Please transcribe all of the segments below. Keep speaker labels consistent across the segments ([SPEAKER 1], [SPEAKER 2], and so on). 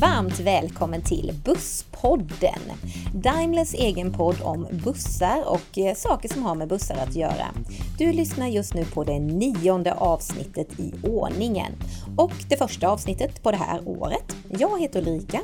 [SPEAKER 1] varmt välkommen till Busspodden! Daimlers egen podd om bussar och eh, saker som har med bussar att göra. Du lyssnar just nu på det nionde avsnittet i ordningen och det första avsnittet på det här året. Jag heter Ulrika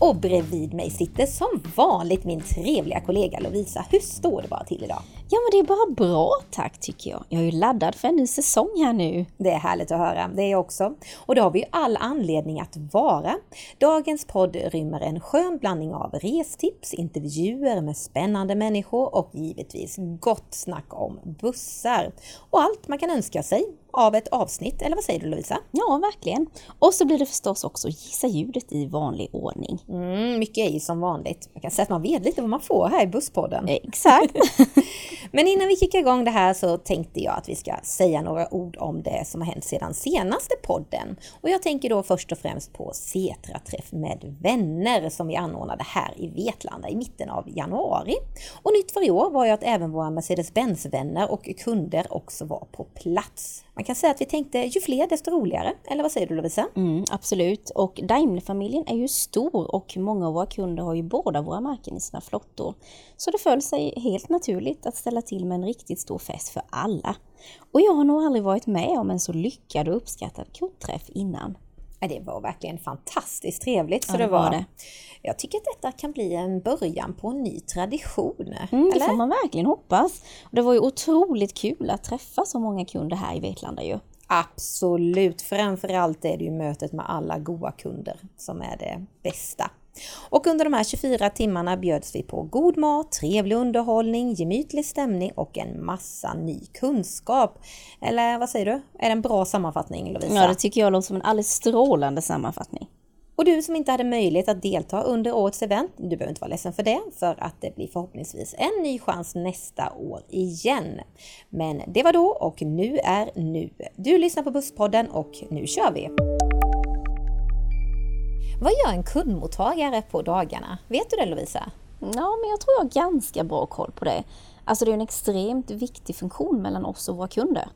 [SPEAKER 1] och bredvid mig sitter som vanligt min trevliga kollega Lovisa. Hur står det bara till idag?
[SPEAKER 2] Ja men det är bara bra tack tycker jag. Jag är ju laddad för en ny säsong här nu.
[SPEAKER 1] Det är härligt att höra, det är jag också. Och det har vi ju all anledning att vara. Dagens podd rymmer en skön blandning av restips, intervjuer med spännande människor och givetvis gott snack om bussar. Och allt man kan önska sig av ett avsnitt, eller vad säger du Lovisa?
[SPEAKER 2] Ja, verkligen. Och så blir det förstås också gissa ljudet i vanlig ordning.
[SPEAKER 1] Mm, mycket är ju som vanligt. Man kan säga att man vet lite vad man får här i Busspodden.
[SPEAKER 2] Eh, Exakt.
[SPEAKER 1] Men innan vi kickar igång det här så tänkte jag att vi ska säga några ord om det som har hänt sedan senaste podden. Och jag tänker då först och främst på Cetra-träff med vänner som vi anordnade här i Vetlanda i mitten av januari. Och nytt för i år var ju att även våra Mercedes-Benz-vänner och kunder också var på plats. Man kan säga att vi tänkte ju fler desto roligare, eller vad säger du Lovisa?
[SPEAKER 2] Mm, absolut. Och Daimler-familjen är ju stor och många av våra kunder har ju båda våra märken i sina flottor. Så det föll sig helt naturligt att ställa till med en riktigt stor fest för alla. Och jag har nog aldrig varit med om en så lyckad och uppskattad kundträff innan.
[SPEAKER 1] Ja, det var verkligen fantastiskt trevligt. Så
[SPEAKER 2] Ja,
[SPEAKER 1] det
[SPEAKER 2] det
[SPEAKER 1] var.
[SPEAKER 2] var det.
[SPEAKER 1] Jag tycker att detta kan bli en början på en ny tradition.
[SPEAKER 2] Mm, det
[SPEAKER 1] eller?
[SPEAKER 2] får man verkligen hoppas. Och det var ju otroligt kul att träffa så många kunder här i Vetlanda ju.
[SPEAKER 1] Absolut, framförallt är det ju mötet med alla goa kunder som är det bästa. Och under de här 24 timmarna bjöds vi på god mat, trevlig underhållning, gemytlig stämning och en massa ny kunskap. Eller vad säger du? Är det en bra sammanfattning Lovisa?
[SPEAKER 2] Ja, det tycker jag låter som en alldeles strålande sammanfattning.
[SPEAKER 1] Och du som inte hade möjlighet att delta under årets event, du behöver inte vara ledsen för det, för att det blir förhoppningsvis en ny chans nästa år igen. Men det var då och nu är nu. Du lyssnar på Busspodden och nu kör vi! Vad gör en kundmottagare på dagarna? Vet du det Lovisa?
[SPEAKER 2] Ja, men jag tror jag har ganska bra koll på det. Alltså det är ju en extremt viktig funktion mellan oss och våra kunder.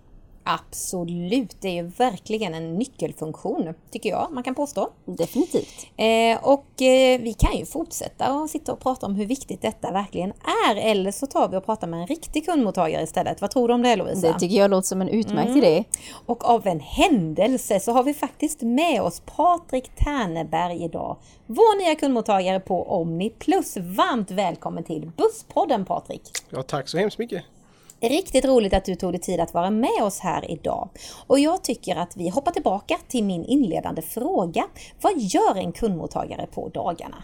[SPEAKER 1] Absolut, det är ju verkligen en nyckelfunktion tycker jag man kan påstå.
[SPEAKER 2] Definitivt.
[SPEAKER 1] Eh, och eh, vi kan ju fortsätta och sitta och prata om hur viktigt detta verkligen är. Eller så tar vi och pratar med en riktig kundmottagare istället. Vad tror du om det Lovisa?
[SPEAKER 2] Det tycker jag låter som en utmärkt idé.
[SPEAKER 1] och av en händelse så har vi faktiskt med oss Patrik Terneberg idag. Vår nya kundmottagare på Omni Plus. Varmt välkommen till Busspodden Patrik!
[SPEAKER 3] Ja, tack så hemskt mycket.
[SPEAKER 1] Riktigt roligt att du tog dig tid att vara med oss här idag. Och jag tycker att vi hoppar tillbaka till min inledande fråga. Vad gör en kundmottagare på dagarna?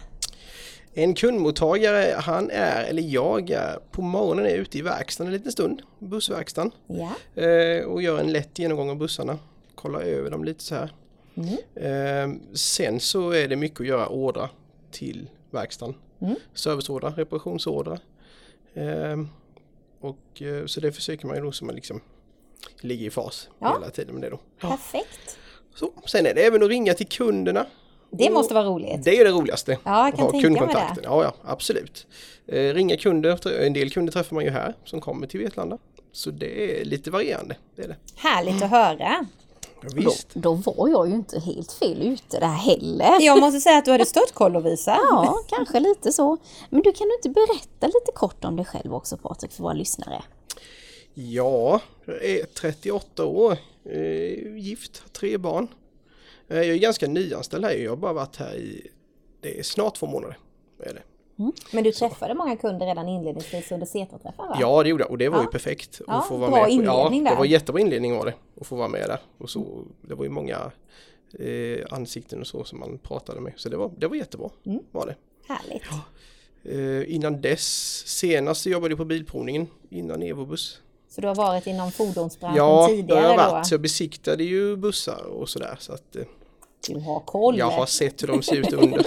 [SPEAKER 3] En kundmottagare, han är, eller jag är, på morgonen är ute i verkstaden en liten stund, bussverkstaden,
[SPEAKER 1] Ja.
[SPEAKER 3] eh, och gör en lätt genomgång av bussarna. Kollar över dem lite så här. Eh, sen så är det mycket att göra ordrar till verkstaden. Mm. Serviceordrar, reparationsordrar. Eh, och, eh, så det försöker man ju då så man liksom ligger i fas
[SPEAKER 1] Ja.
[SPEAKER 3] hela tiden med det då.
[SPEAKER 1] Perfekt.
[SPEAKER 3] Så, sen är det även att ringa till kunderna.
[SPEAKER 1] Det
[SPEAKER 3] Och-
[SPEAKER 1] måste vara roligt.
[SPEAKER 3] Det är ju det roligaste.
[SPEAKER 1] Ja, jag kan
[SPEAKER 3] att ha
[SPEAKER 1] tänka mig
[SPEAKER 3] kundkontakten. Ja, ja, absolut. Eh, ringa kunder, en del kunder träffar man ju här som kommer till Vetlanda. Så det är lite varierande. Det är det.
[SPEAKER 1] Härligt att höra.
[SPEAKER 3] Ja,
[SPEAKER 2] Då, då var jag ju inte helt fel ute där heller.
[SPEAKER 1] Jag måste säga att du hade stört koll Lovisa.
[SPEAKER 2] Ja, kanske lite så. Men du kan du inte berätta lite kort om dig själv också Patrik för våra lyssnare?
[SPEAKER 3] Ja, jag är 38 år, eh, gift, har tre barn. Eh, jag är ganska nyanställd här, jag har bara varit här i det är snart två månader. Är det.
[SPEAKER 1] Men du träffade många kunder redan inledningsvis under CETA-träffen va?
[SPEAKER 3] Ja, det gjorde jag och det var ju perfekt.
[SPEAKER 1] Ja,
[SPEAKER 3] att få vara
[SPEAKER 1] bra
[SPEAKER 3] med.
[SPEAKER 1] inledning
[SPEAKER 3] ja,
[SPEAKER 1] där. Mm.
[SPEAKER 3] Det var jättebra inledning var det. Att få vara med där. Och så, det var ju många eh, ansikten och så som man pratade med. Så det var, det var jättebra.
[SPEAKER 1] Mm.
[SPEAKER 3] Var det.
[SPEAKER 1] Härligt.
[SPEAKER 3] Eh, innan dess, senast så jobbade jag på Bilprovningen innan Evobuss.
[SPEAKER 1] Så du har varit inom fordonsbranschen
[SPEAKER 3] Ja, det har
[SPEAKER 1] tidigare
[SPEAKER 3] jag varit. Så
[SPEAKER 1] då?
[SPEAKER 3] jag besiktade ju bussar och sådär. Så att, eh,
[SPEAKER 1] Du har koll.
[SPEAKER 3] jag har sett hur de ser ut under.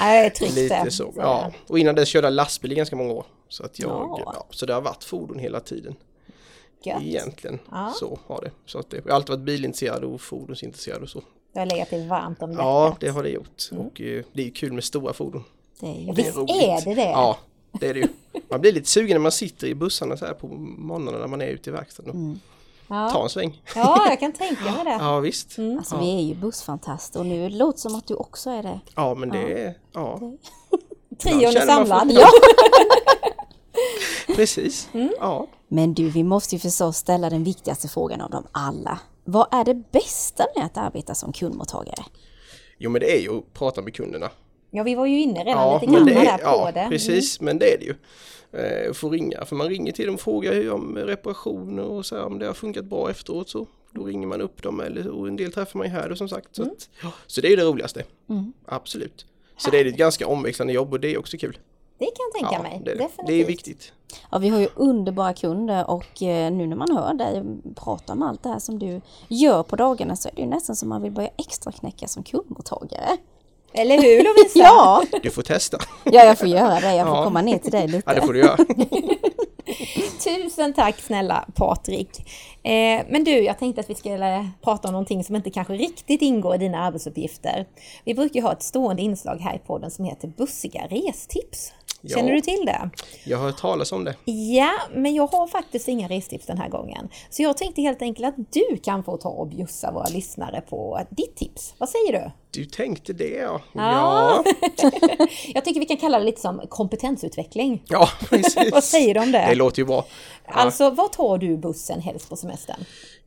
[SPEAKER 1] Nej, tryggt
[SPEAKER 3] Lite
[SPEAKER 1] det.
[SPEAKER 3] så. Ja. Och innan dess körde jag lastbil i ganska många år. Så, att jag,
[SPEAKER 1] Ja.
[SPEAKER 3] ja. så det har varit fordon hela tiden.
[SPEAKER 1] Gött.
[SPEAKER 3] Egentligen
[SPEAKER 1] Ja.
[SPEAKER 3] så har det. Så att det. Jag har alltid varit bilintresserad och fordonsintresserad och så.
[SPEAKER 1] Det har legat dig varmt om
[SPEAKER 3] Ja, det har det gjort. Och eh, det är ju kul med stora fordon.
[SPEAKER 2] Det är ju...
[SPEAKER 1] Mm. Visst är det det?
[SPEAKER 3] Ja, det är det ju. Man blir lite sugen när man sitter i bussarna så här på morgonen när man är ute i verkstaden. och Ta en sväng.
[SPEAKER 1] Mm. Ja, Mm. jag kan tänka mig det.
[SPEAKER 3] Ja visst.
[SPEAKER 2] Alltså vi är ju bussfantaster och nu låter det som att du också är det.
[SPEAKER 3] Ja men det är, ja
[SPEAKER 1] Trion är
[SPEAKER 3] känner man
[SPEAKER 1] samlad.
[SPEAKER 3] för-
[SPEAKER 1] Ja. Mm.
[SPEAKER 3] precis. Ja.
[SPEAKER 2] Men du, vi måste ju förstås ställa den viktigaste frågan av dem alla. Vad är det bästa med att arbeta som kundmottagare?
[SPEAKER 3] Jo men det är ju att prata med kunderna.
[SPEAKER 1] ja, vi var ju inne redan
[SPEAKER 3] Ja,
[SPEAKER 1] lite
[SPEAKER 3] men
[SPEAKER 1] grann
[SPEAKER 3] det
[SPEAKER 1] där
[SPEAKER 3] är,
[SPEAKER 1] på
[SPEAKER 3] ja
[SPEAKER 1] det. Mm.
[SPEAKER 3] precis, men det är det ju. Eh, Få ringa, för man ringer till dem och frågar hur om reparationer och så här, om det har funkat bra efteråt så. Då ringer man upp dem eller, och en del träffar man ju här och som sagt.
[SPEAKER 1] Mm.
[SPEAKER 3] Så, att, ja, så det är ju det roligaste. Absolut. Så det är ett ganska omväxlande jobb och det är också kul.
[SPEAKER 1] Det kan jag tänka mig.
[SPEAKER 3] det,
[SPEAKER 1] Definitivt.
[SPEAKER 3] det är viktigt.
[SPEAKER 2] Ja, vi har ju underbara kunder och eh, nu när man hör dig prata om allt det här som du gör på dagarna så är det ju nästan som man vill börja extra knäcka som kundmottagare.
[SPEAKER 1] Eller hur Lovisa?
[SPEAKER 2] Ja,
[SPEAKER 3] Du får testa.
[SPEAKER 2] ja jag får göra det. Jag får
[SPEAKER 3] Ja.
[SPEAKER 2] komma ner till dig
[SPEAKER 3] Ja det
[SPEAKER 2] lite.
[SPEAKER 3] får du göra.
[SPEAKER 1] Tusen tack snälla Patrik. Eh, men du, jag tänkte att vi skulle prata om någonting som inte kanske riktigt ingår i dina arbetsuppgifter. Vi brukar ju ha ett stående inslag här i podden som heter Bussiga restips.
[SPEAKER 3] Ja.
[SPEAKER 1] Känner du till det?
[SPEAKER 3] Jag har hört talas om det.
[SPEAKER 1] Ja, men jag har faktiskt inga restips den här gången. Så jag tänkte helt enkelt att du kan få ta och bjussa våra lyssnare på ditt tips. Vad säger du?
[SPEAKER 3] Du tänkte det ja.
[SPEAKER 1] Ja.
[SPEAKER 3] Ja,
[SPEAKER 1] Jag tycker vi kan kalla det lite som kompetensutveckling.
[SPEAKER 3] ja precis.
[SPEAKER 1] Vad säger du om det?
[SPEAKER 3] Det låter ju bra.
[SPEAKER 1] Alltså, var tar du bussen helst på semestern?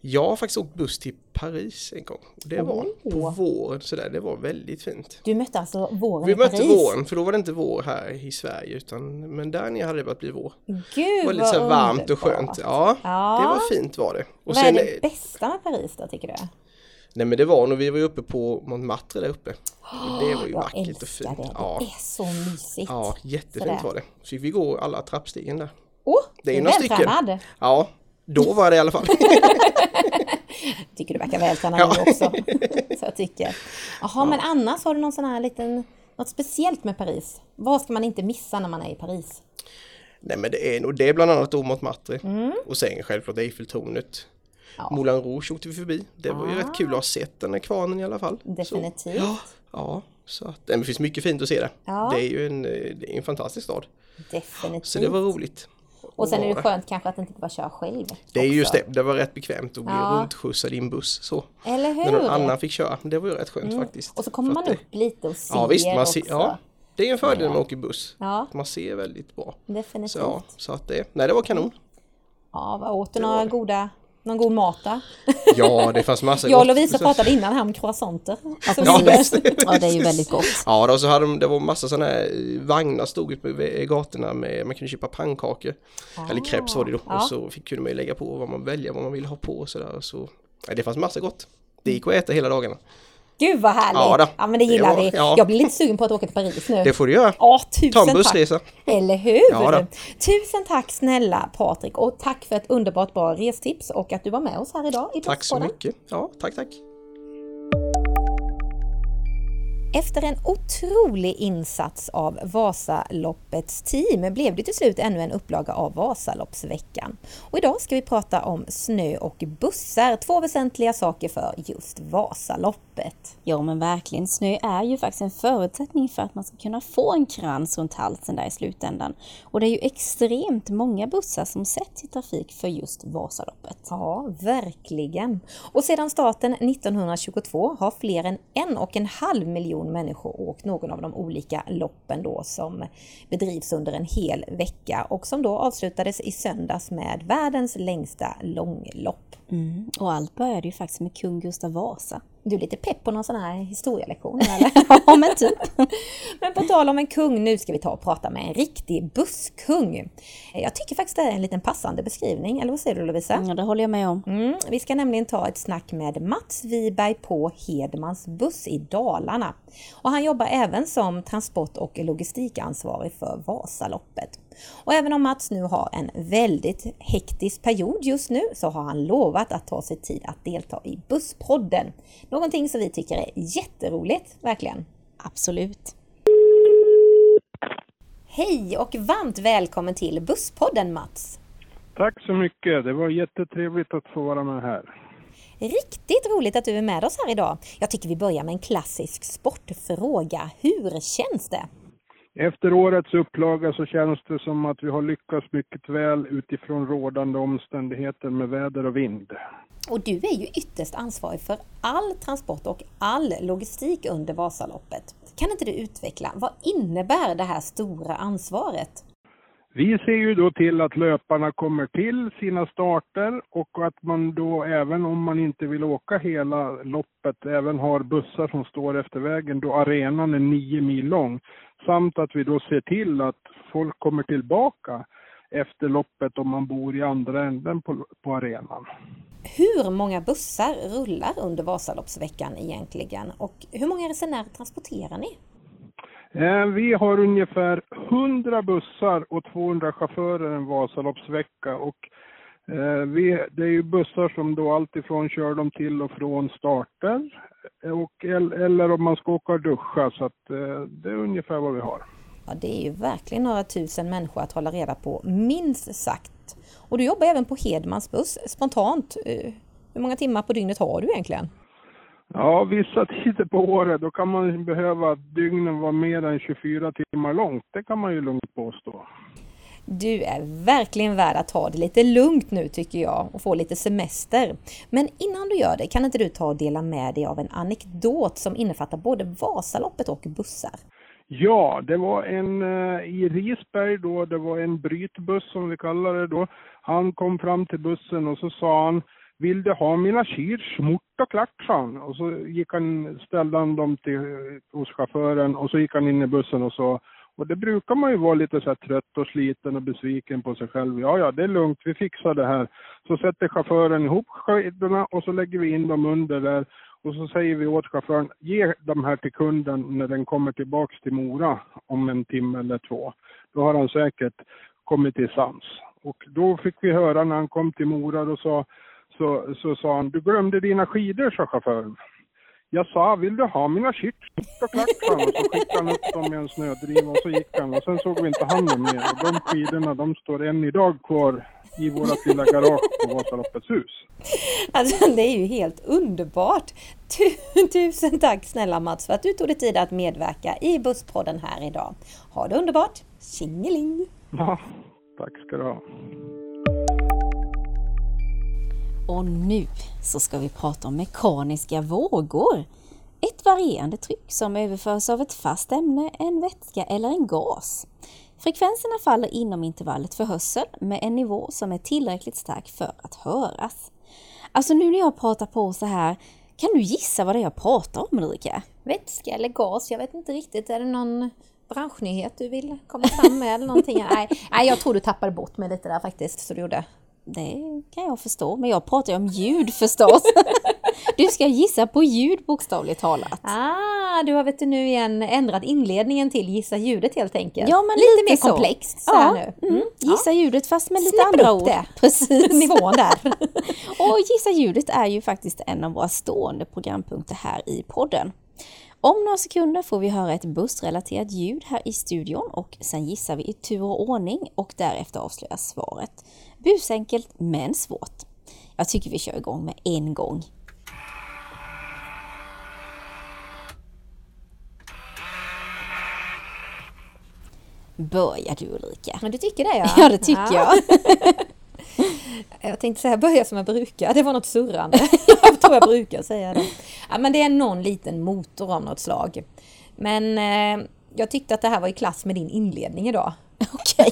[SPEAKER 3] Jag har faktiskt åkt buss till Paris en gång. Det var på våren sådär, det var väldigt fint.
[SPEAKER 1] Du mötte alltså våren
[SPEAKER 3] Vi
[SPEAKER 1] i Paris?
[SPEAKER 3] mötte våren, för då var det inte vår här i Sverige utan men där nere hade det börjat bli vår.
[SPEAKER 1] Gud
[SPEAKER 3] Det var lite
[SPEAKER 1] vad
[SPEAKER 3] så här varmt och
[SPEAKER 1] underbart.
[SPEAKER 3] skönt. Ja,
[SPEAKER 1] Ja.
[SPEAKER 3] det var fint var det. Och
[SPEAKER 1] Vad är
[SPEAKER 3] sen, eh,
[SPEAKER 1] det bästa med Paris då tycker du?
[SPEAKER 3] nej men det var nog, vi var ju uppe på Montmartre där uppe. Och Det var ju
[SPEAKER 1] Jag
[SPEAKER 3] vackert och
[SPEAKER 1] älskar
[SPEAKER 3] fint.
[SPEAKER 1] det,
[SPEAKER 3] Ja,
[SPEAKER 1] det är så mysigt.
[SPEAKER 3] ja jättefint
[SPEAKER 1] Sådär.
[SPEAKER 3] var det. Så fick vi gå alla trappstegen där.
[SPEAKER 1] Åh,
[SPEAKER 3] Det är
[SPEAKER 1] du
[SPEAKER 3] ju några stycken.
[SPEAKER 1] vältränad.
[SPEAKER 3] Ja, då var det i alla fall.
[SPEAKER 1] Tycker du verkar vältränad
[SPEAKER 3] Ja.
[SPEAKER 1] nu också. så jag tycker. Jaha, men annars har du någon sån här liten, något speciellt med Paris? Vad ska man inte missa när man är i Paris?
[SPEAKER 3] Nej men det är nog det är bland annat då Montmartre.
[SPEAKER 1] Mm.
[SPEAKER 3] Och sen självklart Eiffeltornet. Moulin Rouge åkte vi förbi. Det var ju rätt kul att ha sett den där kvarnen i alla fall.
[SPEAKER 1] Ah. Definitivt.
[SPEAKER 3] Så, ja, ja, så att, nej, men det finns mycket fint att se där.
[SPEAKER 1] Ja.
[SPEAKER 3] Det är ju en, eh, det är en fantastisk stad.
[SPEAKER 1] Definitivt.
[SPEAKER 3] Så det var roligt.
[SPEAKER 1] Mm. och sen är det
[SPEAKER 3] vara
[SPEAKER 1] skönt kanske att inte bara köra själv.
[SPEAKER 3] Det är just
[SPEAKER 1] också.
[SPEAKER 3] det, det var rätt bekvämt att bli
[SPEAKER 1] Ja.
[SPEAKER 3] runtskjutsad i en buss så.
[SPEAKER 1] Eller
[SPEAKER 3] När någon
[SPEAKER 1] hur? Mm.
[SPEAKER 3] annan fick köra, det var ju rätt skönt faktiskt.
[SPEAKER 1] Och så kommer
[SPEAKER 3] För
[SPEAKER 1] man
[SPEAKER 3] att det-
[SPEAKER 1] upp lite och ser
[SPEAKER 3] Ja visst, man
[SPEAKER 1] också.
[SPEAKER 3] ser, ja, det är en fördel när man åker buss.
[SPEAKER 1] Ja.
[SPEAKER 3] Man ser väldigt bra.
[SPEAKER 1] Definitivt.
[SPEAKER 3] Så, ja, så att det, nej det var kanon.
[SPEAKER 1] Ja, vad åt du några goda, någon god mat då?
[SPEAKER 3] Ja, det fanns massa
[SPEAKER 1] Jag och
[SPEAKER 3] gott.
[SPEAKER 1] Lovisa pratade innan här om croissanter. Som
[SPEAKER 2] Ja,
[SPEAKER 1] vi-
[SPEAKER 3] precis.
[SPEAKER 2] Ja, det är ju väldigt gott.
[SPEAKER 3] Ja, då så hade de, det var massa sådana här eh, vagnar stod ute på vä- gatorna med, man kunde köpa pannkakor. Eller crepes var det då.
[SPEAKER 1] Ah, ja.
[SPEAKER 3] Och så fick, kunde man ju lägga på vad man välja, vad man ville ha på och sådär. Och så, ja, det fanns massa gott. Det gick att äta hela dagarna.
[SPEAKER 1] Mm. Gud vad härligt!
[SPEAKER 3] Ja,
[SPEAKER 1] Ja,
[SPEAKER 3] då.
[SPEAKER 1] men det gillar
[SPEAKER 3] Det var-
[SPEAKER 1] vi.
[SPEAKER 3] ja.
[SPEAKER 1] Jag blir lite sugen på att åka till Paris nu.
[SPEAKER 3] Det får du göra.
[SPEAKER 1] Ja, tusen
[SPEAKER 3] Ta en
[SPEAKER 1] tack!
[SPEAKER 3] bussresa.
[SPEAKER 1] Eller hur?
[SPEAKER 3] Ja, då.
[SPEAKER 1] tusen tack snälla Patrik och tack för ett underbart bra restips och att du var med oss här idag i
[SPEAKER 3] Tack så
[SPEAKER 1] Postpodden.
[SPEAKER 3] mycket. Ja, tack tack.
[SPEAKER 1] Efter en otrolig insats av Vasaloppets team blev det till slut ännu en upplaga av Vasaloppsveckan. Och idag ska vi prata om snö och bussar, två väsentliga saker för just Vasaloppet.
[SPEAKER 2] Ja men verkligen, snö är ju faktiskt en förutsättning för att man ska kunna få en krans runt halsen där i slutändan. Och det är ju extremt många bussar som sätts i trafik för just Vasaloppet.
[SPEAKER 1] Ja, verkligen. Och sedan starten 1922 har fler än en och en halv miljon människor åkt någon av de olika loppen då som bedrivs under en hel vecka och som då avslutades i söndags med världens längsta långlopp.
[SPEAKER 2] Mm. Och allt började ju faktiskt med kung Gustav Vasa.
[SPEAKER 1] Du är lite pepp på någon sån här historielektion eller?
[SPEAKER 2] Ja men typ.
[SPEAKER 1] Men på tal om en kung, nu ska vi ta och prata med en riktig busskung. Jag tycker faktiskt det är en liten passande beskrivning, eller vad säger du Lovisa?
[SPEAKER 2] Ja det håller jag med om.
[SPEAKER 1] Mm, vi ska nämligen ta ett snack med Mats Wiberg på Hedmans buss i Dalarna. Och han jobbar även som transport och logistikansvarig för Vasaloppet. Och även om Mats nu har en väldigt hektisk period just nu så har han lovat att ta sig tid att delta i Busspodden. Någonting som vi tycker är jätteroligt, verkligen.
[SPEAKER 2] Absolut.
[SPEAKER 1] Hej och varmt välkommen till Busspodden Mats!
[SPEAKER 4] Tack så mycket. Det var jättetrevligt att få vara med här.
[SPEAKER 1] Riktigt roligt att du är med oss här idag. Jag tycker vi börjar med en klassisk sportfråga. Hur känns det?
[SPEAKER 4] Efter årets upplaga så känns det som att vi har lyckats mycket väl utifrån rådande omständigheter med väder och vind.
[SPEAKER 1] Och du är ju ytterst ansvarig för all transport och all logistik under Vasaloppet. Kan inte du utveckla, vad innebär det här stora ansvaret?
[SPEAKER 4] Vi ser ju då till att löparna kommer till sina starter och att man då även om man inte vill åka hela loppet även har bussar som står efter vägen då arenan är nio mil lång. Samt att vi då ser till att folk kommer tillbaka efter loppet om man bor i andra änden på, på arenan.
[SPEAKER 1] Hur många bussar rullar under Vasaloppsveckan egentligen och hur många resenärer transporterar ni?
[SPEAKER 4] Eh, Vi har ungefär 100 bussar och 200 chaufförer en Vasaloppsvecka. Och eh, vi, det är ju bussar som då alltifrån kör dem till och från starter och, el- eller om man ska åka och duscha. Så att, eh, det är ungefär vad vi har.
[SPEAKER 1] Ja, det är ju verkligen några tusen människor att hålla reda på, minst sagt. Och du jobbar även på Hedmans buss, spontant. eh, Hur många timmar på dygnet har du egentligen?
[SPEAKER 4] Ja, vissa tider på året då kan man behöva att dygnen vara mer än 24 timmar långt. Det kan man ju lugnt påstå.
[SPEAKER 1] Du är verkligen värd att ta det lite lugnt nu tycker jag och få lite semester. Men innan du gör det, kan inte du ta och dela med dig av en anekdot som innefattar både Vasaloppet och bussar?
[SPEAKER 4] Ja, det var en eh, i Risberg då, det var en brytbuss som vi kallar det då. Han kom fram till bussen och så sa han vill du ha mina kyr, smort och klart, sa han. Och så gick han, ställde han dem till, eh, hos chauffören och så gick han in i bussen och sa och det brukar man ju vara lite så här trött och sliten och besviken på sig själv. Ja, ja, det är lugnt, vi fixar det här. Så sätter chauffören ihop skidorna och så lägger vi in dem under där. Och så säger vi åt chauffören, ge de här till kunden när den kommer tillbaks till Mora om en timme eller två. Då har han säkert kommit till sans. Och då fick vi höra när han kom till Mora, då sa, så, så sa han, du glömde dina skidor, sa chauffören. Jag sa, vill du ha mina shit? Och klackade han och så skickade han upp dem i en snödriva och så gick han och sen såg vi inte han dem mer. Och de skidorna, de står än idag kvar i vårt lilla garage på Vasaloppets hus.
[SPEAKER 1] Alltså det är ju helt underbart! Tu- tusen tack snälla Mats för att du tog dig tid att medverka i Busspodden här idag. Ha det underbart! Tjingeling!
[SPEAKER 4] Ja, tack ska du ha.
[SPEAKER 2] Och nu så ska vi prata om mekaniska vågor. Ett varierande tryck som överförs av ett fast ämne, en vätska eller en gas. Frekvenserna faller inom intervallet för hörsel med en nivå som är tillräckligt stark för att höras. Alltså nu när jag pratar på så här, kan du gissa vad det är jag pratar om Ulrika?
[SPEAKER 1] Vätska eller gas, jag vet inte riktigt. Är det någon branschnyhet du vill komma fram med eller någonting? Nej, nej jag tror du tappade bort mig lite där faktiskt, så du gjorde.
[SPEAKER 2] Det kan jag förstå, men jag pratar ju om ljud förstås. Du ska gissa på ljud bokstavligt talat.
[SPEAKER 1] Ah, du har vet du nu igen ändrat inledningen till Gissa ljudet helt enkelt.
[SPEAKER 2] Ja, men lite
[SPEAKER 1] mer
[SPEAKER 2] så.
[SPEAKER 1] komplext så
[SPEAKER 2] Ja,
[SPEAKER 1] här nu.
[SPEAKER 2] mm. Gissa ljudet fast med lite
[SPEAKER 1] Snäpper
[SPEAKER 2] andra
[SPEAKER 1] upp
[SPEAKER 2] ord.
[SPEAKER 1] det.
[SPEAKER 2] Precis.
[SPEAKER 1] Nivån där.
[SPEAKER 2] Och Gissa ljudet är ju faktiskt en av våra stående programpunkter här i podden. Om några sekunder får vi höra ett bussrelaterat ljud här i studion och sen gissar vi i tur och ordning och därefter avslöjas svaret. Busenkelt men svårt. Jag tycker vi kör igång med en gång. Börjar du Ulrika?
[SPEAKER 1] Men du tycker det ja. Ah.
[SPEAKER 2] Ja, det tycker jag.
[SPEAKER 1] Jag tänkte säga börja som jag brukar, det var något surrande. jag tror jag brukar säga det. Ja, men det är någon liten motor av något slag. Men eh, jag tyckte att det här var i klass med din inledning idag.
[SPEAKER 2] Okej.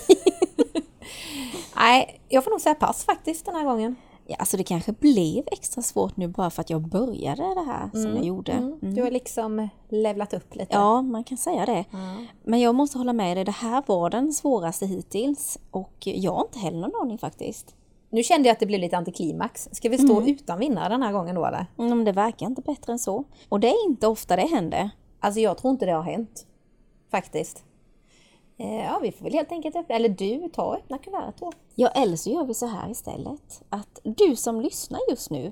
[SPEAKER 1] Nej, jag får nog säga pass faktiskt den här gången.
[SPEAKER 2] Ja, alltså det kanske blev extra svårt nu bara för att jag började det här som jag gjorde. Mm.
[SPEAKER 1] Du har liksom levlat upp lite.
[SPEAKER 2] Ja, man kan säga det. Men jag måste hålla med dig, det här var den svåraste hittills. Och jag har inte heller någon aning faktiskt.
[SPEAKER 1] Nu kände jag att det blev lite antiklimax. Ska vi stå
[SPEAKER 2] Mm.
[SPEAKER 1] utan vinnare den här gången då eller?
[SPEAKER 2] Men det verkar inte bättre än så. Och det är inte ofta det händer.
[SPEAKER 1] Alltså jag tror inte det har hänt. Faktiskt. Eh, Ja, vi får väl helt enkelt öppna, eller du tar och öppnar kuvertet då.
[SPEAKER 2] Ja, eller så gör vi så här istället. Att du som lyssnar just nu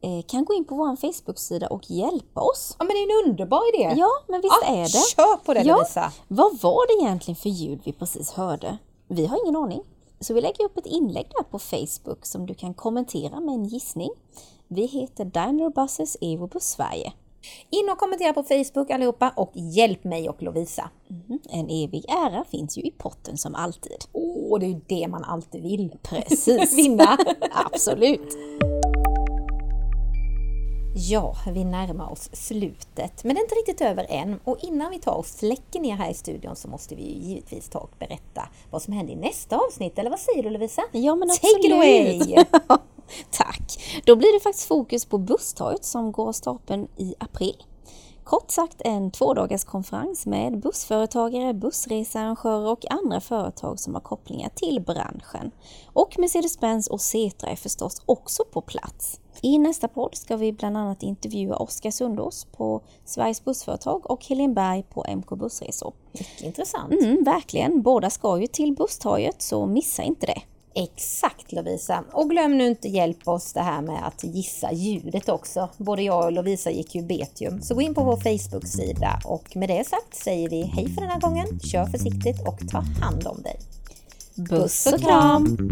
[SPEAKER 2] eh, kan gå in på vår Facebook-sida och hjälpa oss.
[SPEAKER 1] Ja, men det är ju en underbar idé!
[SPEAKER 2] Ja, men visst
[SPEAKER 1] Ja,
[SPEAKER 2] är det?
[SPEAKER 1] Kör på det
[SPEAKER 2] Ja.
[SPEAKER 1] Lovisa!
[SPEAKER 2] Vad var det egentligen för ljud vi precis hörde? Vi har ingen aning. Så vi lägger upp ett inlägg där på Facebook som du kan kommentera med en gissning. Vi heter Diner Buses Eurobus Sverige.
[SPEAKER 1] In och kommentera på Facebook allihopa och hjälp mig och Lovisa.
[SPEAKER 2] Mm, En evig ära finns ju i potten som alltid.
[SPEAKER 1] Åh, det är ju det man alltid vill.
[SPEAKER 2] Precis.
[SPEAKER 1] Vinna.
[SPEAKER 2] Absolut.
[SPEAKER 1] Ja, vi närmar oss slutet, men det är inte riktigt över än. Och innan vi tar och släcker ner här i studion så måste vi ju givetvis ta och berätta vad som händer i nästa avsnitt. Eller vad säger du Lovisa?
[SPEAKER 2] Ja, men absolut.
[SPEAKER 1] Take it away!
[SPEAKER 2] Tack! Då blir det faktiskt fokus på Busstorget som går av stapeln i april. Kort sagt en tvådagarskonferens med bussföretagare, bussresearrangörer och andra företag som har kopplingar till branschen. Och Mercedes-Benz och Setra är förstås också på plats. I nästa podd ska vi bland annat intervjua Oskar Sundås på Sveriges Bussföretag och Helen Berg på MK Bussresor.
[SPEAKER 1] Mycket intressant.
[SPEAKER 2] Mm, verkligen, båda ska ju till Busstorget så missa inte det.
[SPEAKER 1] Exakt Lovisa! Och glöm nu inte hjälp oss det här med att gissa ljudet också. Både jag och Lovisa gick ju betium. Så gå in på vår Facebook-sida och med det sagt säger vi hej för den här gången. Kör försiktigt och ta hand om dig.
[SPEAKER 2] Puss och kram!